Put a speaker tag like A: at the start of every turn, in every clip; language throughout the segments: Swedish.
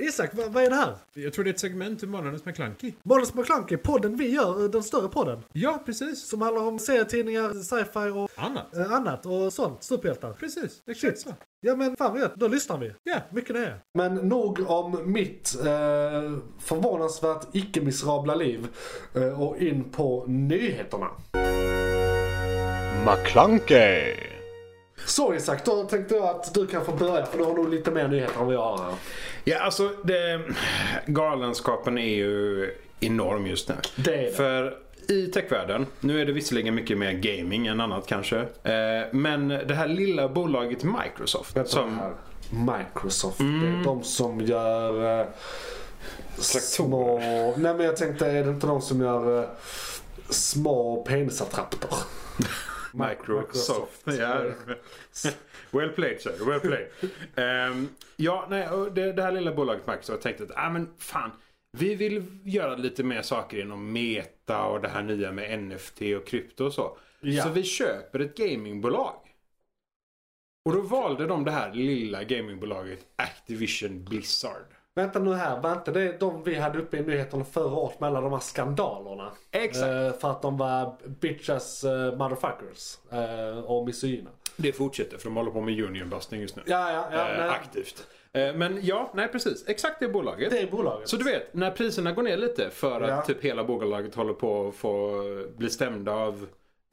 A: Isak, vad, vad är det här?
B: Jag tror det är ett segment ur Månadens McKlunky.
A: Måns McKlunky, podden vi gör, eh, den större podden.
B: Ja, precis.
A: Som handlar om serietidningar, sci-fi och
B: Annat.
A: eh, annat och sånt. Superhjältar.
B: Precis, exakt så.
A: Ja men fan vad gött, då lyssnar vi.
B: Ja.
A: Mycket nöje.
C: Men nog om mitt eh, förvånansvärt icke-miserabla liv eh, och in på nyheterna.
D: McClunkey!
C: Så Isak, då tänkte jag att du kan få börja för du har nog lite mer nyheter än vad jag har här.
E: Ja, alltså det, galenskapen är ju enorm just nu.
C: Det är det.
E: För i techvärlden, nu är det visserligen mycket mer gaming än annat kanske. Eh, men det här lilla bolaget Microsoft. som,
C: här. Microsoft,
B: Mm.
C: det är de som gör... Eh, små... Nej men jag tänkte, är det inte de som gör eh, små penisattrapper?
E: Microsoft. Ja. Well played sir, well played. Ehm, ja, nej, och det, det här lilla bolaget Microsoft tänkte att, ah, men fan. Vi vill göra lite mer saker inom meta och det här nya med NFT och krypto och så.
C: Ja.
E: Så vi köper ett gamingbolag. Och då valde de det här lilla gamingbolaget Activision Blizzard.
C: Vänta nu här, var inte det de vi hade uppe i nyheterna förra året med alla de här skandalerna?
E: Exakt.
C: Eh, för att de var bitches eh, motherfuckers eh, och misogyna.
E: Det fortsätter för de håller på med union busting just nu.
C: Ja, ja, ja.
E: Eh,
C: nej.
E: aktivt. Eh, men ja, nej precis. Exakt det bolaget.
C: Det är bolaget.
E: Så du vet, när priserna går ner lite för att
C: Ja.
E: typ hela bolaget håller på att få bli stämda av typ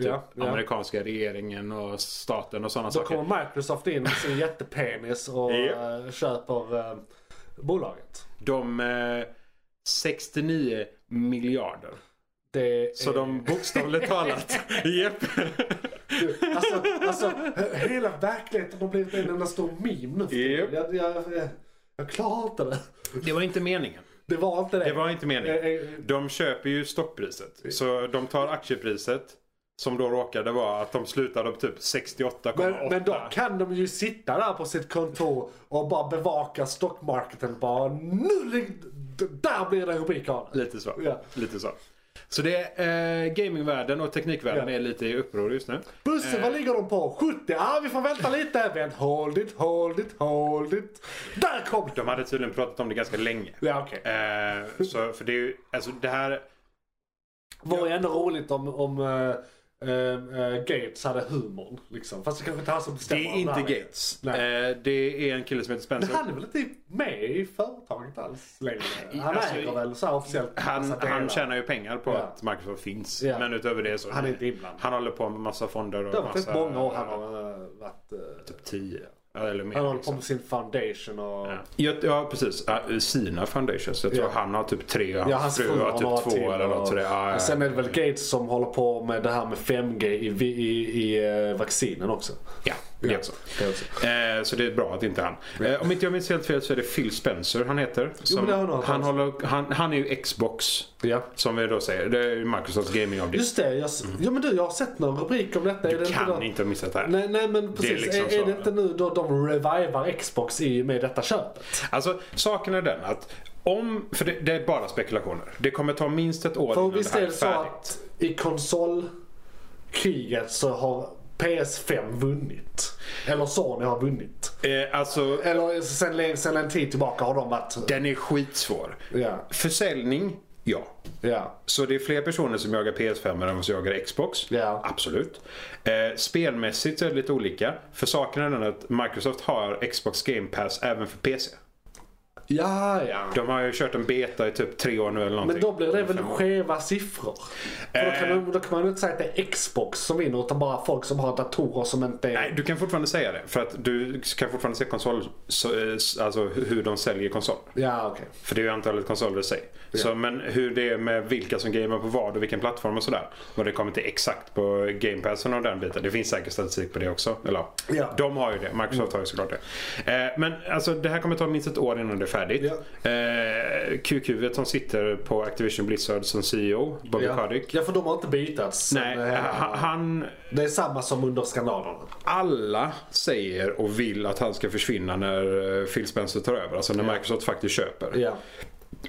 C: Ja, ja.
E: amerikanska regeringen och staten och sådana
C: Då
E: saker.
C: kommer Microsoft in med sin jättepenis och
E: Ja.
C: eh, köper eh, bolaget.
E: De eh, 69 miljarder.
C: Det är...
E: Så de bokstavligt talat, japp.
C: Alltså, alltså he- hela verkligheten har blivit en enda stor meme nu för tiden.
E: Japp.
C: jag, jag, jag, jag klarar inte det.
E: Det var inte meningen.
C: Det var inte det.
E: Det var inte
C: Eh, eh,
E: meningen. De köper ju stockpriset. Så de tar aktiepriset. Som då råkade vara att de slutade på typ 68,8.
C: Men, men då kan de ju sitta där på sitt kontor och bara bevaka stockmarketen. Bara nu, lig- d- där blir det rubrik av det.
E: Lite så.
C: Ja.
E: Lite så. Så det är, eh, gamingvärlden och teknikvärlden
C: Ja.
E: är lite i uppror just nu.
C: Busse,
E: Eh.
C: vad ligger de på? 70? Ja, vi får vänta lite. Vänt, hold it, hold it, hold it. Där kom de!
E: De hade tydligen pratat om det ganska länge.
C: Ja, okej.
E: Eh, så, för det är ju, alltså det här,
C: Vore ändå roligt om, om eh, eh, eh, Gates hade humorn. Liksom. Fast det kanske inte är han som
E: det
C: bestämmer.
E: är
C: om
E: inte
C: här.
E: Gates.
C: Nej.
E: Eh, det är en kille som heter
C: Men
E: Spencer.
C: han är väl inte med i företaget alls längre? Han
E: Alltså,
C: äger väl så här officiellt
E: Han,
C: massa delar.
E: han tjänar ju pengar på
C: Ja.
E: att Microsoft finns.
C: Ja.
E: Men utöver det så.
C: Han är inte inblandad.
E: Han håller på med massa fonder och
C: Det har varit
E: massa...
C: rätt många år han har eh, varit... eh,
E: Typ 10. Eller mer.
C: Han håller på
E: liksom.
C: med sin foundation och...
E: Ja. Jag, ja precis, Ja, sina foundations. Jag tror
C: Ja.
E: han har typ tre och
C: Ja,
E: hans fru har
C: några
E: typ två
C: till
E: eller något sådär. Ja, ja,
C: och sen är det
E: ja.
C: väl Gates som håller på med det här med 5G i, vi- i, i eh, vaccinen också.
E: Ja, det är så.
C: Det också.
E: Eh, så det är bra att inte han. Eh, om inte jag minns helt fel så är det Phil Spencer han heter. Som,
C: det har jag nog hört
E: han,
C: talas om.
E: håller, han, han är ju Xbox.
C: Ja.
E: Som vi då säger. Det är ju Microsofts gamingavdelning.
C: Just det, jag, ja, men du, jag har sett någon rubrik om detta. är det
E: Du
C: inte
E: kan
C: då?
E: inte ha missat det här.
C: Nej, nej men precis.
E: liksom
C: är, är
E: så.
C: det inte nu då de revivar Xbox i och med detta köpet?
E: Alltså saken är den att om, för det, det är bara spekulationer. Det kommer ta minst ett år
C: För
E: innan det
C: visst är
E: här är
C: det så
E: färdigt.
C: att i konsolkriget så har PS5 vunnit. Eller Sony har vunnit.
E: Eh, alltså
C: Eller sen, sen en tid tillbaka har de varit...
E: den är skitsvår.
C: Ja,
E: Försäljning, ja.
C: ja.
E: Så det är fler personer som jagar PS5 än vad som jagar Xbox?
C: Ja.
E: Absolut. Eh, spelmässigt så är det lite olika. För saken är den att Microsoft har Xbox Game Pass även för PC.
C: Ja, ja.
E: De har ju kört en beta i typ tre år nu eller någonting.
C: Men då blir det väl
E: Fem år.
C: skeva siffror? För då, kan
E: Eh.
C: man, då kan man ju inte säga att det är Xbox som vinner utan bara folk som har datorer som inte är...
E: Nej, du kan fortfarande säga det. För att du kan fortfarande se konsol, så, eh, s- alltså hu- hur de säljer konsoler.
C: Ja, okej.
E: För det är ju antalet konsoler i sig. Så, men hur det är med vilka som gamer på vad och vilken plattform och sådär. Vad det kommer till exakt på Game Passen och den biten. Det finns säkert statistik på det också. Eller
C: Ja.
E: de har ju det. Microsoft har ju såklart det. Eh, men alltså det här kommer ta minst ett år innan det är färdigt. Eh, QQ et som sitter på Activision Blizzard som CEO, Bobby
C: Ja.
E: Kotick.
C: ja, för de har inte bytats.
E: Nej,
C: Men, eh,
E: ha- han...
C: Det är samma som under skandalerna.
E: Alla säger och vill att han ska försvinna när eh, Phil Spencer tar över. Alltså när Microsoft faktiskt köper.
C: Ja.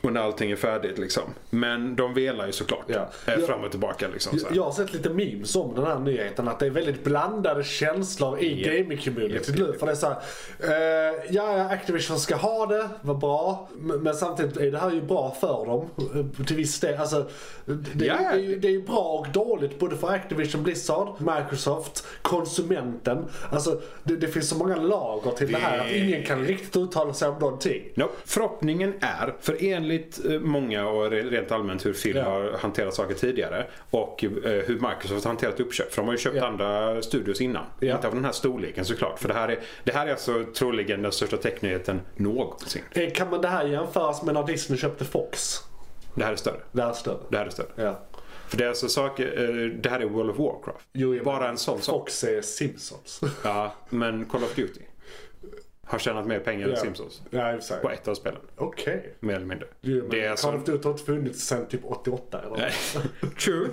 E: Och när allting är färdigt liksom. Men de velar ju såklart.
C: Ja.
E: Eh,
C: Ja.
E: Fram och tillbaka liksom. Så
C: Jag,
E: här.
C: jag har sett lite memes om den här nyheten. Att det är väldigt blandade känslor i
E: Ja.
C: gaming-communityt
E: Ja, ja,
C: nu. För det är såhär, eh, ja ja, Activision ska ha det, vad bra. Men, men samtidigt är det här ju bra för dem. eh, Till viss del. Alltså, det,
E: Ja, ja.
C: det, är ju, det är ju bra och dåligt både för Activision Blizzard, Microsoft, konsumenten. Alltså det, det finns så många lager till det, här att ingen kan riktigt uttala sig om någonting.
E: Nope. Förhoppningen är, för enligt eh, många och re- rent allmänt hur Phil
C: Ja.
E: har hanterat saker tidigare och eh, hur Microsoft har hanterat uppköp. För de har ju köpt
C: Ja.
E: andra studios innan.
C: Ja.
E: Inte av den här storleken såklart. För det här är, det här är alltså troligen den största technyheten någonsin.
C: Eh, Kan man det här jämföras med när Disney köpte Fox?
E: Det här är större.
C: Det här är större.
E: Det här är större.
C: Ja.
E: För det är alltså saker, eh, det här är World of Warcraft.
C: Jo, jag
E: Bara en sån sak.
C: Fox är Simpsons.
E: Ja, men Call of Duty har tjänat mer pengar än
C: Ja.
E: Simpsons.
C: Ja, i och för sig.
E: På ett av spelen,
C: Okej.
E: mer eller mindre.
C: Jo, men
E: Det är
C: Call
E: alltså...
C: of Duty har inte funnits sen typ 88 eller?
E: Nej, True.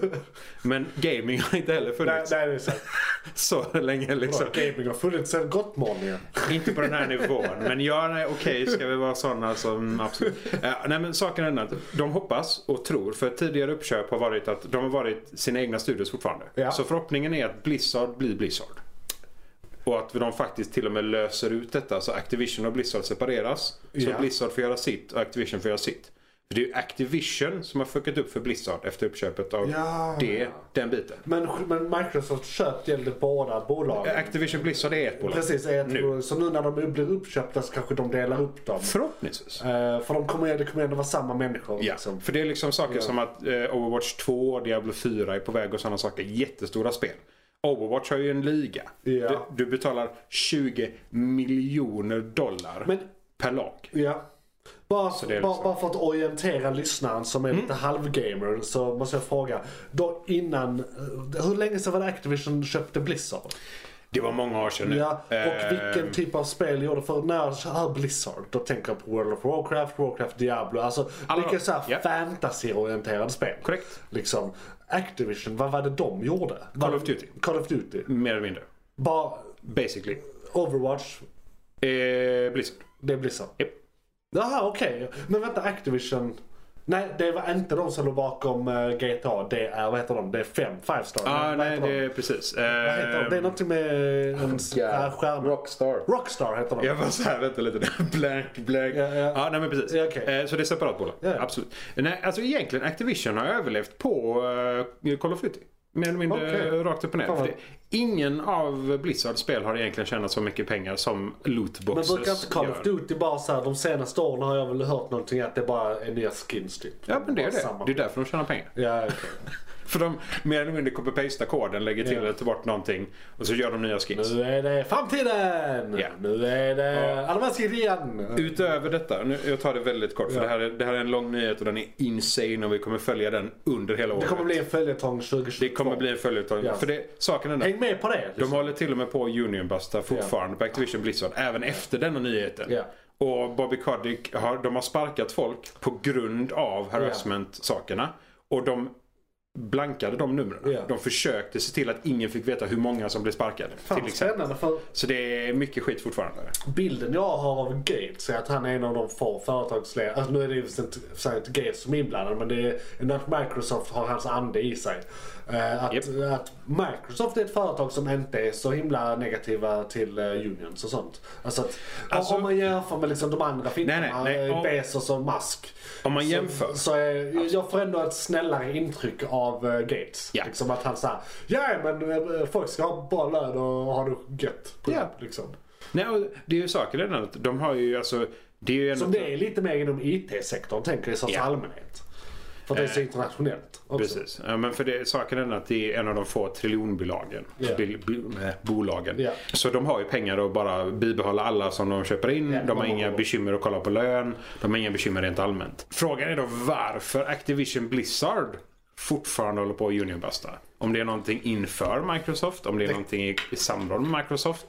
E: Men gaming har inte heller
C: Nej,
E: funnits
C: nej, det är sant.
E: så länge liksom.
C: Gaming har funnits sen Gottmania.
E: Inte på den här nivån. Men ja, nej, okej, ska vi vara sådana som absolut. Eh, nej, men saken är den att de hoppas och tror, för tidigare uppköp har varit att de har varit sina egna studios fortfarande.
C: Ja.
E: Så förhoppningen är att Blizzard blir Blizzard. Och att de faktiskt till och med löser ut detta så Activision och Blizzard separeras. Så
C: Ja.
E: Blizzard får göra sitt och Activision får göra sitt. För det är ju Activision som har fuckat upp för Blizzard efter uppköpet av
C: Ja.
E: det, den biten.
C: Men, men Microsoft köp gällde båda bolagen.
E: Activision Blizzard är ett bolag.
C: Precis, är ett
E: Nu.
C: bolag. Så nu när de blir uppköpta så kanske de delar upp dem.
E: Förhoppningsvis.
C: Eh, för de kommer, det kommer ändå vara samma människor.
E: Ja,
C: Liksom.
E: för det är liksom saker
C: Ja.
E: som att eh, Overwatch 2 och Diablo 4 är på väg och sådana saker. Jättestora spel. Overwatch har ju en liga.
C: Ja.
E: Du, du betalar 20 miljoner dollar
C: Men-
E: per lag.
C: Ja. Bara,
E: det är
C: bara,
E: liksom- Mm.
C: bara för att orientera lyssnaren som är lite halvgamer så måste jag fråga. Då innan, eh, hur länge sedan var det Activision köpte Blizzard?
E: Det var många år sedan nu.
C: Ja, och vilken
E: Ehm,
C: typ av spel gjorde för när jag hör Blizzard då tänker jag på World of Warcraft, Warcraft Diablo. Alltså
E: Alla
C: vilka
E: de,
C: så här
E: ja.
C: fantasy-orienterade spel.
E: Korrekt.
C: Liksom, Activision, vad var det de gjorde?
E: Call of Duty.
C: Call of Duty.
E: Mer eller mindre.
C: Bara
E: Basically.
C: Overwatch,
E: Eh, Blizzard.
C: det är Blizzard.
E: Japp.
C: Jaha, okej. Men vänta, Activision. Nej, det var inte de som låg bakom eh, GTA. Det är, vad heter de? Det är fem, Five Star.
E: Ah,
C: vad
E: nej,
C: heter
E: det
C: de?
E: är precis. Eh,
C: Vad heter de? Det är någonting med en yeah. stjärna.
D: Rockstar.
C: Rockstar heter de.
E: Jag var såhär, vänta lite. Blank, blank.
C: Ja, ja.
E: nej men precis.
C: Ja, okej.
E: Eh, Så det är separat bolag.
C: Ja.
E: Absolut. Nej, alltså egentligen Activision har överlevt på eh, Call of Duty. Mer eller mindre
C: Okej.
E: eh, rakt upp och ner.
C: Fan
E: För
C: vad-
E: det, ingen av Blizzards spel har egentligen tjänat så mycket pengar som
C: Men
E: lootboxes
C: brukar inte Call of
E: gör.
C: Duty bara så här, de senaste åren har jag väl hört någonting att det bara är nya skins typ.
E: Ja men det är
C: Bara
E: det.
C: samma-
E: Det är därför de tjänar pengar.
C: Ja, okej.
E: För de mer eller mindre copy-pastar koden, lägger till
C: Ja.
E: eller tar bort någonting och så gör de nya skins.
C: Nu är det framtiden!
E: Ja.
C: Nu är det Almasirian!
E: Utöver detta, nu, jag tar det väldigt kort för det, här är, det här är en lång nyhet och den är insane och vi kommer följa den under hela året.
C: Det kommer bli en följetong 2022.
E: Det kommer bli en följetong.
C: Ja.
E: För det, saken är den,
C: Häng med på det!
E: de håller till och med på att Unionbusta fortfarande på Activision Blizzard. Även efter denna nyheten.
C: Ja.
E: Och Bobby Kotick har, de har sparkat folk på grund av harassment-sakerna. Och de blankade de numren.
C: Ja.
E: De försökte se till att ingen fick veta hur många som blev sparkade.
C: Fan
E: till
C: vad
E: exempel.
C: spännande för
E: Så det är mycket skit fortfarande.
C: bilden jag har av Gates är att han är en av de få företagsledare, alltså nu är det ju inte, så här inte Gates som är inblandad men det är ändå att Microsoft har hans ande i sig. Eh, att,
E: Japp.
C: att Microsoft är ett företag som inte är så himla negativa till eh, unions och sånt. Alltså att
E: Alltså-
C: om man jämför med liksom de andra
E: Nej,
C: finkarna,
E: nej, nej,
C: eh,
E: om-
C: Bezos och Musk.
E: Om man jämför.
C: Så, så är, jag får ändå ett snällare intryck av eh, Gates.
E: Ja.
C: Liksom att han säger ja men eh, folk ska ha bra lön och ha det gött.
E: Ja.
C: Liksom.
E: Nej, och det är ju saken är den att de har ju alltså... Det är ju en
C: Som det är lite mer inom IT-sektorn tänker jag i sorts
E: Ja. Eh,
C: allmänhet. För att det är så internationellt också.
E: Precis. Ja, men för det, saken är den att det är en av de få triljonbolagen.
C: Ja.
E: Bil, bil, nej, bolagen.
C: Ja.
E: Så de har ju pengar att bara bibehålla alla som de köper in.
C: Ja,
E: de har
C: man-
E: inga bekymmer att kolla på lön. De har inga bekymmer rent allmänt. Frågan är då varför Activision Blizzard fortfarande håller på att unionbusta. Om det är någonting inför Microsoft. Om det är någonting i, i samråd med Microsoft.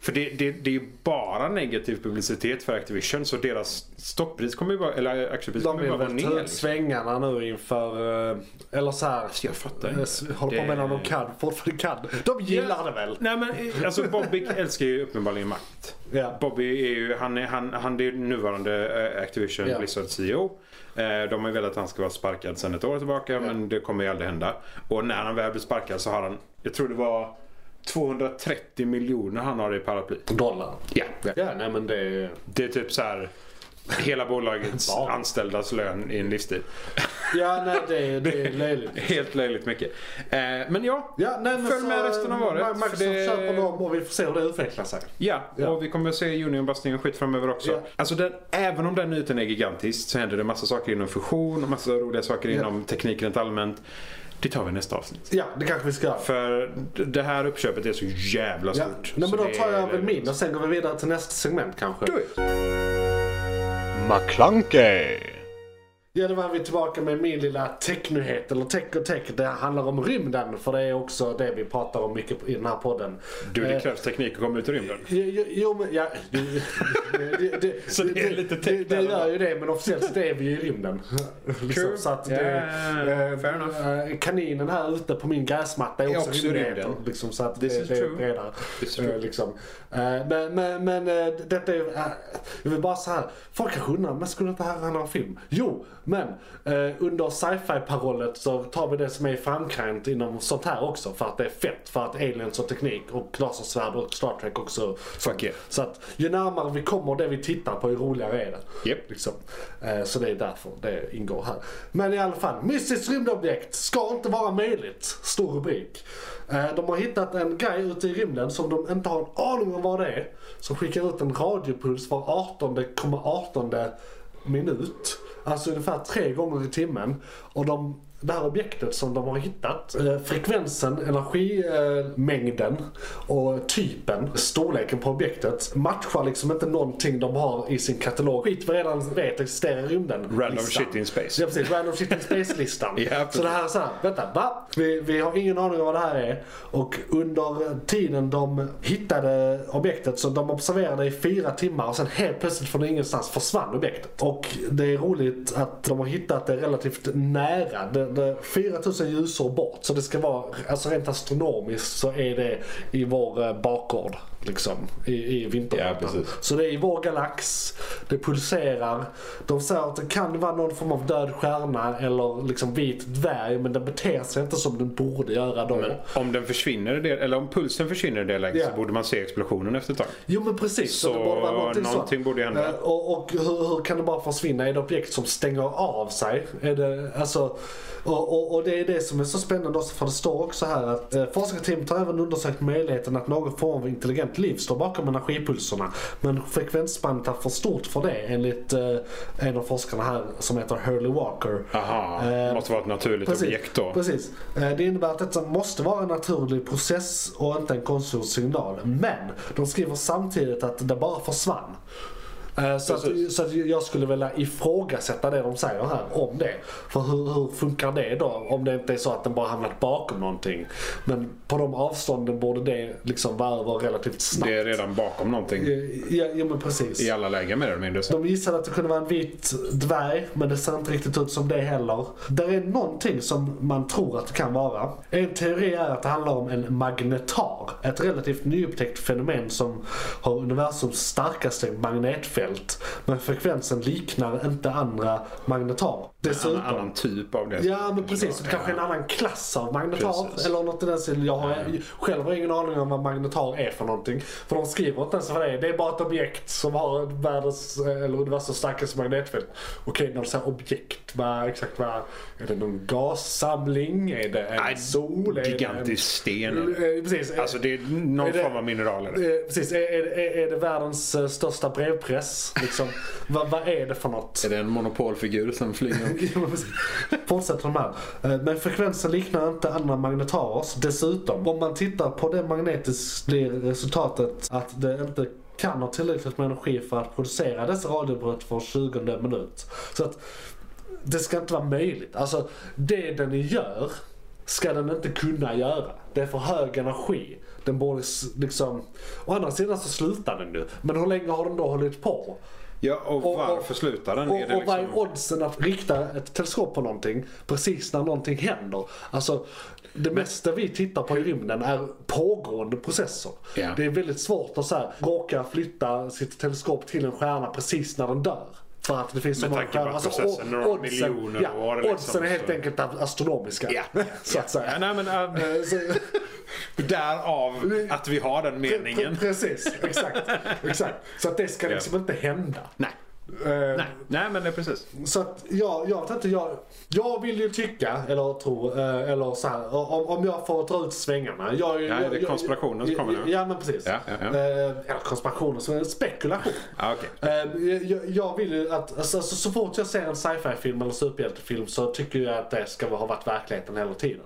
E: För det, det, det är ju bara negativ publicitet för Activision så deras stoppris kommer ju bara, eller aktiepris
C: De
E: kommer ju
C: vill
E: bara vara
C: väl
E: ner.
C: ta ut
E: Liksom.
C: svängarna nu inför... eh, Eller så här...
E: Jag fattar inte.
C: eh, s- Håller på
E: Det-
C: med när de kan. Fortfarande kan. De gillar det väl?
E: Nej men eh, alltså Bobby älskar ju uppenbarligen makt.
C: Ja.
E: Bobby är ju, han är, han, han är ju nuvarande eh, Activision
C: Ja.
E: Blizzard CEO. Eh, De har ju velat att han ska vara sparkad sedan ett år tillbaka men det kommer ju aldrig hända. Och när han väl blir sparkad så har han, jag tror det var 230 miljoner han har i paraply.
C: Dollar.
E: Ja.
C: Ja, nej men det är...
E: Det är typ så här hela bolagets
C: Wow.
E: anställdas lön i en livstid.
C: Ja, nej det är, det är löjligt.
E: Helt löjligt mycket. Eh, Men ja,
C: Ja, nej, men
E: Följ
C: så,
E: med resten av
C: eh,
E: året,
C: Microsoft
E: för det-
C: köper dem och vi får se hur det utvecklar sig.
E: Ja,
C: Ja.
E: och vi kommer att se Union Busting och skit framöver också.
C: Ja.
E: Alltså den, även om den nyheten är gigantisk så händer det massa saker inom fusion och massa roliga saker
C: Ja.
E: inom teknik rent allmänt. Det tar vi i nästa avsnitt.
C: Ja, det kanske vi ska göra.
E: För d- det här uppköpet är så jävla
C: Ja.
E: stort.
C: Nej,
E: Så
C: men då
E: det
C: tar jag
E: är-
C: väl min och sen går vi vidare till nästa segment kanske.
E: Do it.
D: McClunkey.
C: Ja, då var vi tillbaka med min lilla technyhet, eller tech och tech. Det handlar om rymden, för det är också det vi pratar om mycket i den här podden.
E: Du, det
C: Eh,
E: krävs teknik att komma ut i rymden.
C: Jo, jo, jo men ja, det, det, det,
E: Så det är lite
C: det,
E: täckt
C: det
E: där,
C: gör ju det men officiellt sett är vi ju i rymden. Liksom, så att det,
E: Yeah,
C: eh,
E: fair enough.
C: eh, Kaninen här ute på min gräsmatta är också,
E: också
C: rymden.
E: rymden.
C: Liksom, så att
E: This
C: det,
E: is
C: det är
E: true.
C: bredare.
E: This is true.
C: Eh, Liksom. Eh, Men, men, men eh, detta är ju... eh, Jag vill bara så här. Folk kanske undrar, men skulle inte det här handla om film? Jo, men eh, under sci-fi-parollet så tar vi det som är i framkant inom sånt här också. För att det är fett. För att aliens och teknik och lasersvärd och Star Trek också.
E: Fuck yeah.
C: Så att ju närmare vi kommer det vi tittar på, ju roligare är det.
E: Japp.
C: Liksom. Eh, Så det är därför det ingår här. Men i alla fall, mystiskt rymdobjekt ska inte vara möjligt. Stor rubrik. Eh, De har hittat en grej ute i rymden som de inte har en aning om vad det är. Som skickar ut en radiopuls var 18,18 minut. Alltså ungefär tre gånger i timmen. Och de, det här objektet som de har hittat, eh, frekvensen, energimängden och typen, storleken på objektet matchar liksom inte någonting de har i sin katalog. Skit vi redan vet existerar i rymden.
E: Random shit in space.
C: Ja precis, random shit in space-listan.
E: Ja, precis.
C: så det här är såhär, vänta, va? Vi, vi har ingen aning om vad det här är. Och under tiden de hittade objektet, så de observerade i fyra timmar och sen helt plötsligt från ingenstans försvann objektet. Och det är roligt att de har hittat det relativt nära, det, det, 4000 ljusår bort. Så det ska vara, alltså rent astronomiskt så är det i vår eh, bakgård. Liksom, i, i vintergatan.
E: Ja, precis.
C: Så det är i vår galax, det pulserar. De säger att det kan vara någon form av död stjärna eller liksom vit dvärg men den beter sig inte som den borde göra då.
E: Men om den försvinner, i det, eller om pulsen försvinner i det läget
C: Ja.
E: så borde man se explosionen efter ett tag.
C: Jo men precis, så,
E: Så
C: det borde vara någonting, sånt.
E: någonting borde hända.
C: Eh, Och, och hur, hur kan det bara försvinna? Är det objekt som stänger av sig? Är det, alltså, och, och, och det är det som är så spännande också för det står också här att eh, forskarteamet har även undersökt möjligheten att någon form av intelligent liv står bakom energipulserna. Men frekvensspannet är för stort för det enligt eh, en av forskarna här som heter Hurley Walker.
E: Aha,
C: Eh,
E: det måste vara ett naturligt
C: Precis,
E: objekt då.
C: precis. Eh, Det innebär att detta måste vara en naturlig process och inte en konstgjord signal. Men de skriver samtidigt att det bara försvann. Eh, Så, att,
E: Precis.
C: så att jag skulle vilja ifrågasätta det de säger här om det. För hur, hur funkar det då? Om det inte är så att den bara hamnat bakom någonting. Men på de avstånden borde det liksom vara över relativt snabbt.
E: Det är redan bakom någonting
C: Eh, Ja, ja men precis.
E: i alla lägen mer eller mindre. Så.
C: De gissade att det kunde vara en vit dvärg, men det ser inte riktigt ut som det heller. Där är någonting som man tror att det kan vara. En teori är att det handlar om en magnetar. Ett relativt nyupptäckt fenomen som har universums starkaste magnetfält. Men frekvensen liknar inte andra magnetarer.
E: En
C: Dessutom...
E: annan typ av det.
C: Ja men precis, det kanske är en annan klass av magnetar.
E: Precis.
C: Eller något i den stilen. Jag har själv har ingen aning om vad magnetar är för någonting. För de skriver inte ens vad det är. Det är bara ett objekt som har världens, eller universums starkaste magnetfält. Okej, när du säger objekt, vad, exakt vad? Är det någon gassamling? Är det en
E: Nej,
C: sol? Är det en-
E: Gigantisk sten.
C: Eh, Precis.
E: Alltså det är någon
C: Är det-
E: form av mineral. eller?
C: Eh, Precis, är, är, är, är det världens eh, största brevpress? Liksom, vad, vad är det för något?
E: Är det en monopolfigur som flyger?
C: Ja, men precis. Fortsätter de här. Eh, Men frekvensen liknar inte andra magnetarers. Dessutom, om man tittar på det magnetiskt blir resultatet att det inte kan ha tillräckligt med energi för att producera dessa radiobrott var 20 minut. Så att det ska inte vara möjligt. Alltså det den gör ska den inte kunna göra. Det är för hög energi. Den borde s- liksom... Å andra sidan så slutar den nu. Men hur länge har den då hållit på?
E: Ja, och
C: Och- och-
E: varför slutar den?
C: Och,
E: är det
C: och vad
E: liksom...
C: är oddsen att rikta ett teleskop på någonting precis när någonting händer? Alltså, det mesta vi tittar på i rymden är pågående processer.
E: Ja.
C: Det är väldigt svårt att så här, råka flytta sitt teleskop till en stjärna precis när den dör. För att det finns så
E: Med
C: många
E: tanke på
C: stjärnor. Alltså,
E: att processen är några miljoner
C: ja,
E: år liksom,
C: oddsen är helt
E: så-
C: enkelt astronomiska.
E: Ja.
C: Så att
E: Ja,
C: säga. Eh,
E: nej, men, äh,
C: Så-
E: därav att vi har den meningen.
C: Pre- Precis, exakt. exakt. Så att det ska liksom inte hända.
E: Nej.
C: Eh,
E: Nej. nej, men det är precis.
C: Så att jag, jag vet inte, jag, jag vill ju tycka, eller tro, eh, eller så här, om, om jag får dra ut svängarna. Jag,
E: Ja,
C: jag,
E: det är
C: jag-
E: konspirationen som
C: jag-
E: kommer nu.
C: Ja, men precis.
E: Ja, ja, ja.
C: Eh, Eller konspirationen, så är det spekulation.
E: Ja, okej.
C: Eh, Jag, jag vill ju att, alltså, alltså, så fort jag ser en sci-fi film eller superhjältefilm så tycker jag att det ska ha varit verkligheten hela tiden.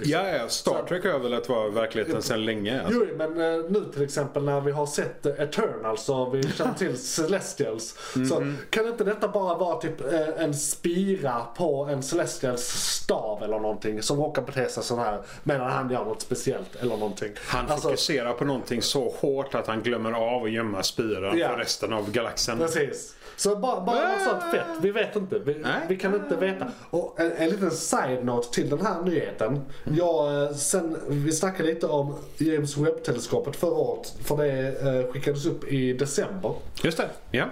E: Ja, ja, Star Trek har väl att vara verkligheten sedan länge. Alltså.
C: Jo, men eh, nu till exempel när vi har sett eh, Eternals så vi känner till Celestials. Så
E: Mhm.
C: kan inte detta bara vara typ eh, en spira på en Celestials stav eller någonting som råkar bete sig så här medan han gör något speciellt eller någonting.
E: Han
C: Alltså,
E: fokuserar på någonting så hårt att han glömmer av att gömma spiran
C: Ja.
E: för resten av galaxen.
C: Precis. Så bara, bara något sånt fett. Vi vet inte. Vi,
E: Äh! Nej.
C: vi kan inte veta. Och en, en liten side-note till den här nyheten.
E: Mm.
C: Jag, eh, sen, vi snackade lite om James Webb-teleskopet förra året. För det eh, skickades upp i december.
E: Just det. Ja.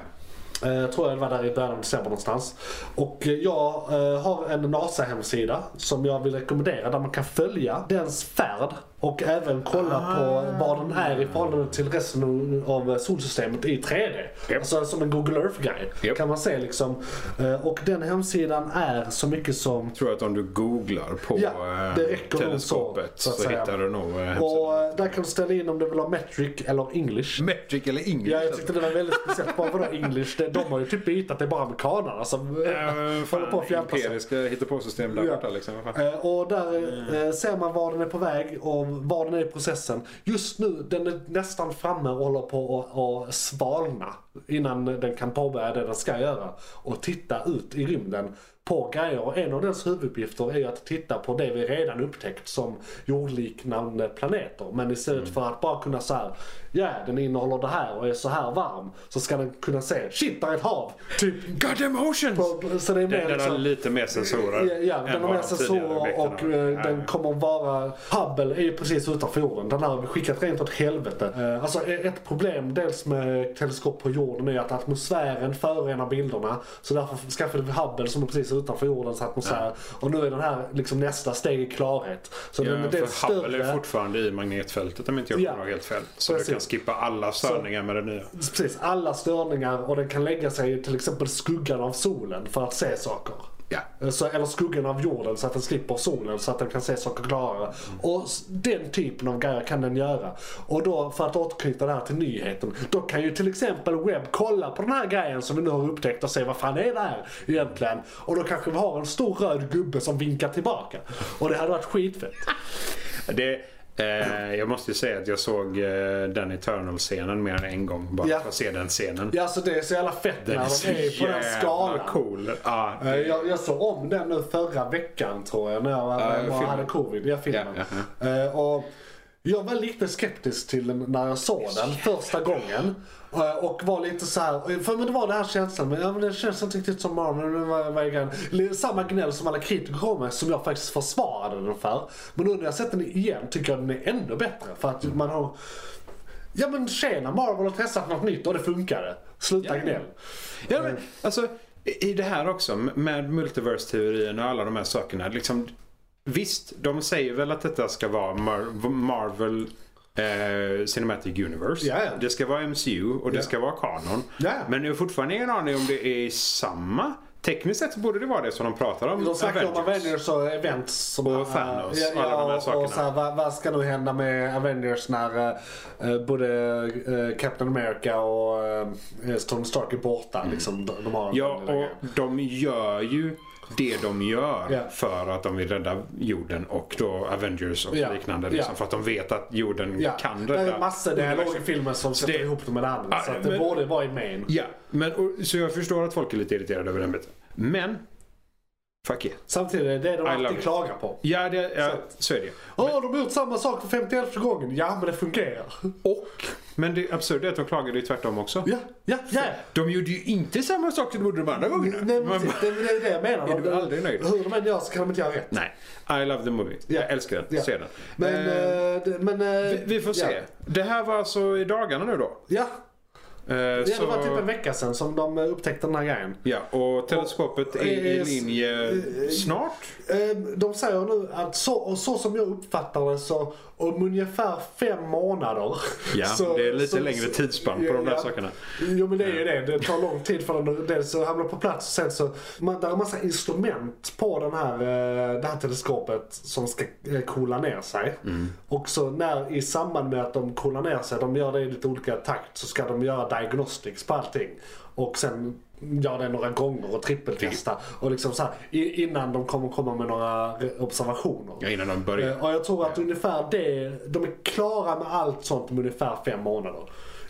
C: Eh, tror jag det var där i början av december någonstans. Och eh, jag eh, har en NASA-hemsida som jag vill rekommendera där man kan följa dens färd och även kolla
E: Ah.
C: på vad den är i förhållande till resten av eh, solsystemet i 3D.
E: Japp.
C: Alltså som en Google Earth-guide
E: Japp.
C: kan man se liksom. Eh, och den hemsidan är så mycket som
E: tror att om du googlar på
C: Ja,
E: eh,
C: det räcker nog
E: teleskopet
C: så,
E: så,
C: så att säga.
E: hittar du nog eh,
C: och eh, där kan du ställa in om du vill ha metric eller English.
E: Metric eller English.
C: eh, Ja,
E: alltså.
C: jag tyckte det var väldigt speciellt. Bara vadå English? Det, de har ju typ bytt att det är bara amerikanerna som eh,
E: Äh,
C: håller på
E: fan,
C: att fjärpa sig.
E: empiriska hittepåsystem där
C: Ja.
E: borta liksom. Vad fan. Mm.
C: Eh, Och där eh, ser man var den är på väg och var den är i processen. Just nu, den är nästan framme och håller på att- att svalna. Innan den kan påbörja det den ska göra. Och titta ut i rymden på grejer. Och en av dess huvuduppgifter är ju att titta på det vi redan upptäckt som jordliknande planeter. Men istället
E: Mm.
C: för att bara kunna säga ja den innehåller det här och är så här varm. Så ska den kunna se, shit där är ett hav! Typ.
E: God damn oceans!
C: På- Så det är mer liksom-
E: Den, den har lite mer sensorer.
C: Ja, ja den
E: än
C: har
E: vad
C: med
E: de
C: sig
E: tidigare
C: sensorer
E: objekten
C: och
E: har.
C: eh,
E: Ja,
C: den
E: ja.
C: kommer vara... Hubble är ju precis utanför jorden. Den här har vi skickat rent åt helvete. Eh, Alltså eh, ett problem dels med teleskop på jorden är att atmosfären förorenar bilderna. Så därför skaffade vi Hubble som är precis utanför jordens atmosfär. Och nu är den här liksom nästa steg i klarhet. Så den är
E: Ja,
C: dels
E: för Hubble är
C: större.
E: fortfarande i magnetfältet om inte jag
C: Ja.
E: kommer ihåg helt fel. Så
C: Precis.
E: du kan skippa alla störningar med det nya.
C: Precis, alla störningar och den kan lägga sig i till exempel skuggan av solen för att se saker.
E: Ja.
C: Eh, Så, eller skuggan av jorden så att den slipper solen så att den kan se saker klarare. Och s- den typen av grejer kan den göra. Och då för att återknyta det här till nyheten. Då kan ju till exempel webb kolla på den här grejen som vi nu har upptäckt och se vad fan är det här egentligen. Och då kanske vi har en stor röd gubbe som vinkar tillbaka. Och det hade varit skitfett.
E: Det, eh, jag måste ju säga att jag såg eh, den Eternal-scenen mer än en gång. Bara
C: Ja.
E: för att se den scenen.
C: Ja alltså det är så jävla fett när
E: Den
C: de
E: är så
C: är på den
E: jävla
C: skalan.
E: cool. Ja,
C: Eh, Jag, jag såg om den nu förra veckan tror jag när jag var,
E: Ja,
C: bara
E: filmen.
C: hade covid. Jag filmen.
E: Ja,
C: Eh, och jag var lite skeptisk till den när jag såg den första gången. Eh, Och var lite så här, för men det var den här känslan, men, ja, men det känns inte riktigt som Marvel. Men vad, vad är grejen? Li- Samma gnäll som alla kritiker kom med som jag faktiskt försvarade den för. Men nu när jag sett den igen tycker jag den är ännu bättre. För att man har, ja men tjena Marvel har testat något nytt och det funkade. Sluta gnäll.
E: Ja, men, alltså, I i det här också med multiverse-teorin och alla de här sakerna. Liksom, visst, de säger väl att detta ska vara Mar- Marvel eh, Cinematic Universe.
C: Ja, ja.
E: Det ska vara MCU och det
C: Ja.
E: ska vara kanon.
C: Ja.
E: Men jag har fortfarande ingen aning om det är samma. Tekniskt sett borde det vara det som de pratar om.
C: De snackar om
E: Avengers.
C: Avengers och events. Som
E: Och Thanos,
C: Ja,
E: alla de här
C: ja,
E: sakerna.
C: Och så här, vad, vad ska nu hända med Avengers när eh, både eh, Captain America och eh, Tony Stark är borta? Liksom, de, de har en del
E: Mm. Ja, och de gör ju det de gör
C: Ja.
E: för att de vill rädda jorden och då Avengers och
C: Ja.
E: liknande.
C: Ja.
E: Liksom, För att de vet att jorden
C: ja.
E: kan
C: Det
E: rädda
C: är massor dialog i
E: universum.
C: filmen som sätter
E: det-
C: ihop det med det andra.
E: Ja,
C: så att det
E: men-
C: borde vara i main.
E: Ja, men, och, så jag förstår att folk är lite irriterade över den biten. Men Fuck yeah.
C: Samtidigt är det de
E: love
C: alltid
E: it.
C: klagar på.
E: Ja, det, ja så är det ju.
C: Åh, de har gjort samma sak för 51 gången. Ja, men det fungerar.
E: Och, men det absurda är att de klagade ju tvärtom också.
C: Ja, ja, ja.
E: De gjorde ju inte samma sak som de gjorde de andra gångerna.
C: Nej, men
E: Man
C: precis, det, det är det jag menar.
E: Är du
C: De-
E: aldrig nöjd?
C: Hur de än gör så kan de inte göra rätt.
E: Nej, I love the movie.
C: Ja.
E: Jag älskar den.
C: Ja.
E: Ser den.
C: Men,
E: Eh,
C: eh, det- men... eh,
E: vi, vi får se.
C: Ja,
E: Det här var alltså i dagarna nu då.
C: ja.
E: Eh,
C: ja
E: så,
C: det var typ en vecka sedan som de eh, upptäckte den här grejen.
E: ja, och teleskopet är
C: eh,
E: i
C: s-
E: linje
C: eh,
E: snart.
C: Eh, De säger nu att så, och så som jag uppfattar det så om ungefär fem månader.
E: Ja,
C: så,
E: det är lite
C: så-
E: längre
C: så-
E: tidsspann på de där
C: ja.
E: sakerna.
C: Jo men det är ju det. Det tar lång tid för den dels att hamna på plats och sen så. Man, där är massa instrument på den här, eh, det här teleskopet som ska eh, coola ner sig. Och så när i samband med att de coolar ner sig, de gör det i lite olika takt, så ska de göra diagnostics på allting. Och sen göra det några gånger och trippeltesta. Och liksom så här, i- innan de kommer komma med några re- observationer.
E: Ja, innan de börjar.
C: Eh, Och jag tror att ungefär det, de är klara med allt sånt om ungefär fem månader.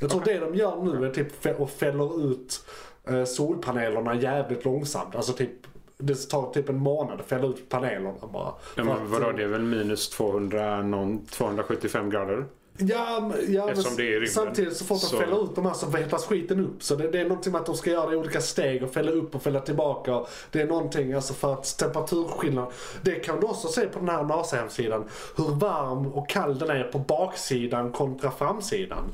C: Jag tror det de gör nu är typ fä- och fäller ut eh, solpanelerna jävligt långsamt. Alltså typ, det tar typ en månad att fälla ut panelerna bara.
E: Ja,
C: För
E: men
C: att-
E: vadå, det är väl minus 200, någon, 275 grader?
C: Ja, men- ja, men
E: Eftersom det är i rymden.
C: samtidigt så fort de
E: Så-
C: fäller ut de här så vetas skiten upp. Så det, det är någonting med att de ska göra det i olika steg och fälla upp och fälla tillbaka. Och Det är någonting alltså för att temperaturskillnad. Det kan du också se på den här NASA-hemsidan. Hur varm och kall den är på baksidan kontra framsidan.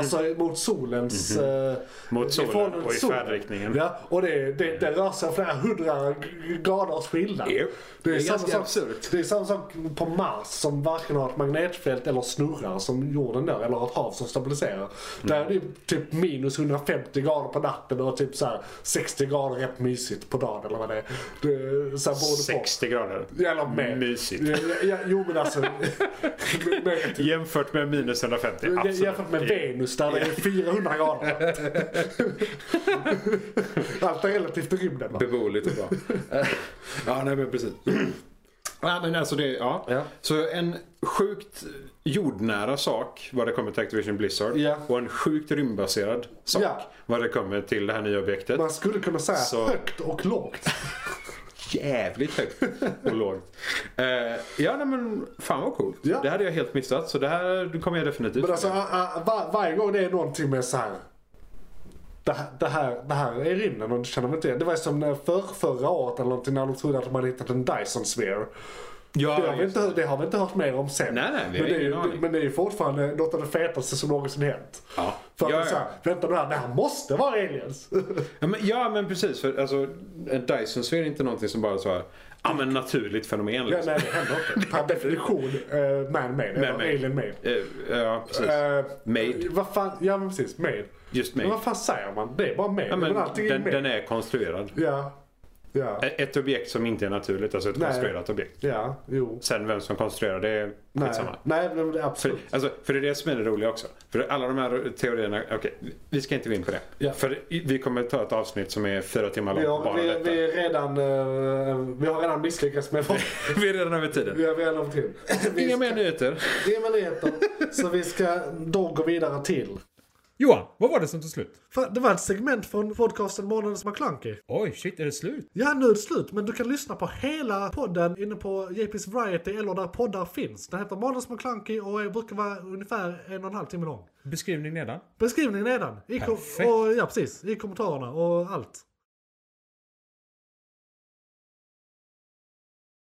C: Alltså mot solens... eh,
E: Mm. Mhm. Mot
C: i
E: solen
C: förhållande till
E: och i
C: solen.
E: färdriktningen.
C: Ja, och det, det, det rör sig om flera hundra graders skillnad.
E: Japp.
C: Det är,
E: Det är
C: samma
E: ganska
C: sak,
E: absurt.
C: Det är samma sak på Mars som varken har ett magnetfält eller snurrar som jorden där eller ett hav som stabiliserar.
E: Mm.
C: Där är det typ minus 150 grader på natten och typ så här 60 grader rätt mysigt på dagen eller vad det är. Det, så här beroende på.
E: 60 grader.
C: Eller mer.
E: Mysigt.
C: Ja, ja, ja, jo men alltså. mer- mer-
E: Jämfört med minus 150, absolut.
C: Jämfört med Venus där det är 400 grader. Allt är relativt till rymden. va?
E: Beboeligt och bra. ja, nej men precis. Ja, men alltså det, ja.
C: Ja.
E: Så en sjukt jordnära sak vad det kommer till Activision Blizzard
C: Ja.
E: och en sjukt rymdbaserad sak
C: Ja.
E: vad det kommer till det här nya objektet.
C: Man skulle kunna säga
E: Så-
C: högt och lågt.
E: Jävligt högt och lågt. Eh, ja, nej, men fan vad coolt.
C: Ja.
E: Det hade jag helt missat så det här kommer jag definitivt
C: Men alltså a- a- var, varje gång det är någonting med så här. Det här, det, här, det här är rymden och det känner man inte igen. Det var ju som när för, förra året eller någonting när de trodde att de hade hittat en Dyson Sphere.
E: ja,
C: Det har, vi
E: just-
C: inte, hört- det har vi inte hört mer om sen.
E: Nej, nej,
C: men,
E: vi har
C: det är
E: ingen
C: ju,
E: aning.
C: men det är ju fortfarande något av det fetaste som någonsin hänt.
E: Ja.
C: För att
E: Ja,
C: det är så här,
E: ja.
C: vänta nu här, det här måste vara aliens.
E: Ja men, ja, men precis. För, alltså, en Dyson sphere är inte någonting som bara så här, ja men naturligt fenomen.
C: ja,
E: Liksom.
C: nej, det händer inte. Per definition uh, man-made, eller
E: Man-made.
C: alien-made.
E: Eh, ja, precis.
C: Eh,
E: Made.
C: Vad fan, ja men precis, made.
E: Just
C: Men
E: made.
C: vad fan säger man? Det är bara made.
E: Ja, men
C: men allting är
E: den,
C: made.
E: den är konstruerad.
C: Ja. Ja.
E: E- Ett objekt som inte är naturligt, alltså ett
C: Nej.
E: konstruerat objekt.
C: Ja, jo.
E: Sen vem som konstruerar det är
C: Nej,
E: skitsamma.
C: nej men det är
E: För,
C: absolut.
E: alltså, för det är det som är det roliga också. För alla de här teorierna, okej, vi ska inte gå in på det.
C: Ja.
E: För vi kommer ta ett avsnitt som är fyra timmar
C: Vi
E: långt,
C: har,
E: bara
C: vi,
E: detta.
C: vi, är redan, eh, vi har redan misslyckats med vad
E: vi är redan över tiden.
C: vi har redan till. Vi
E: Inga
C: ska,
E: mer nyheter.
C: det är möjligheter. Så vi ska då gå vidare till.
B: Johan, vad var det som tog slut?
A: Fan, Det var ett segment från podcasten Månadens McKlunky.
B: Oj, shit, är det slut?
A: Ja, nu är det slut, men du kan lyssna på hela podden inne på JP's Variety eller där poddar finns. Den heter Månadens McKlunky och är- brukar vara ungefär en och en halv timme lång.
B: Beskrivning nedan.
A: Beskrivningen nedan. I kom-
B: Perfekt.
A: och, ja, precis. I kommentarerna och allt.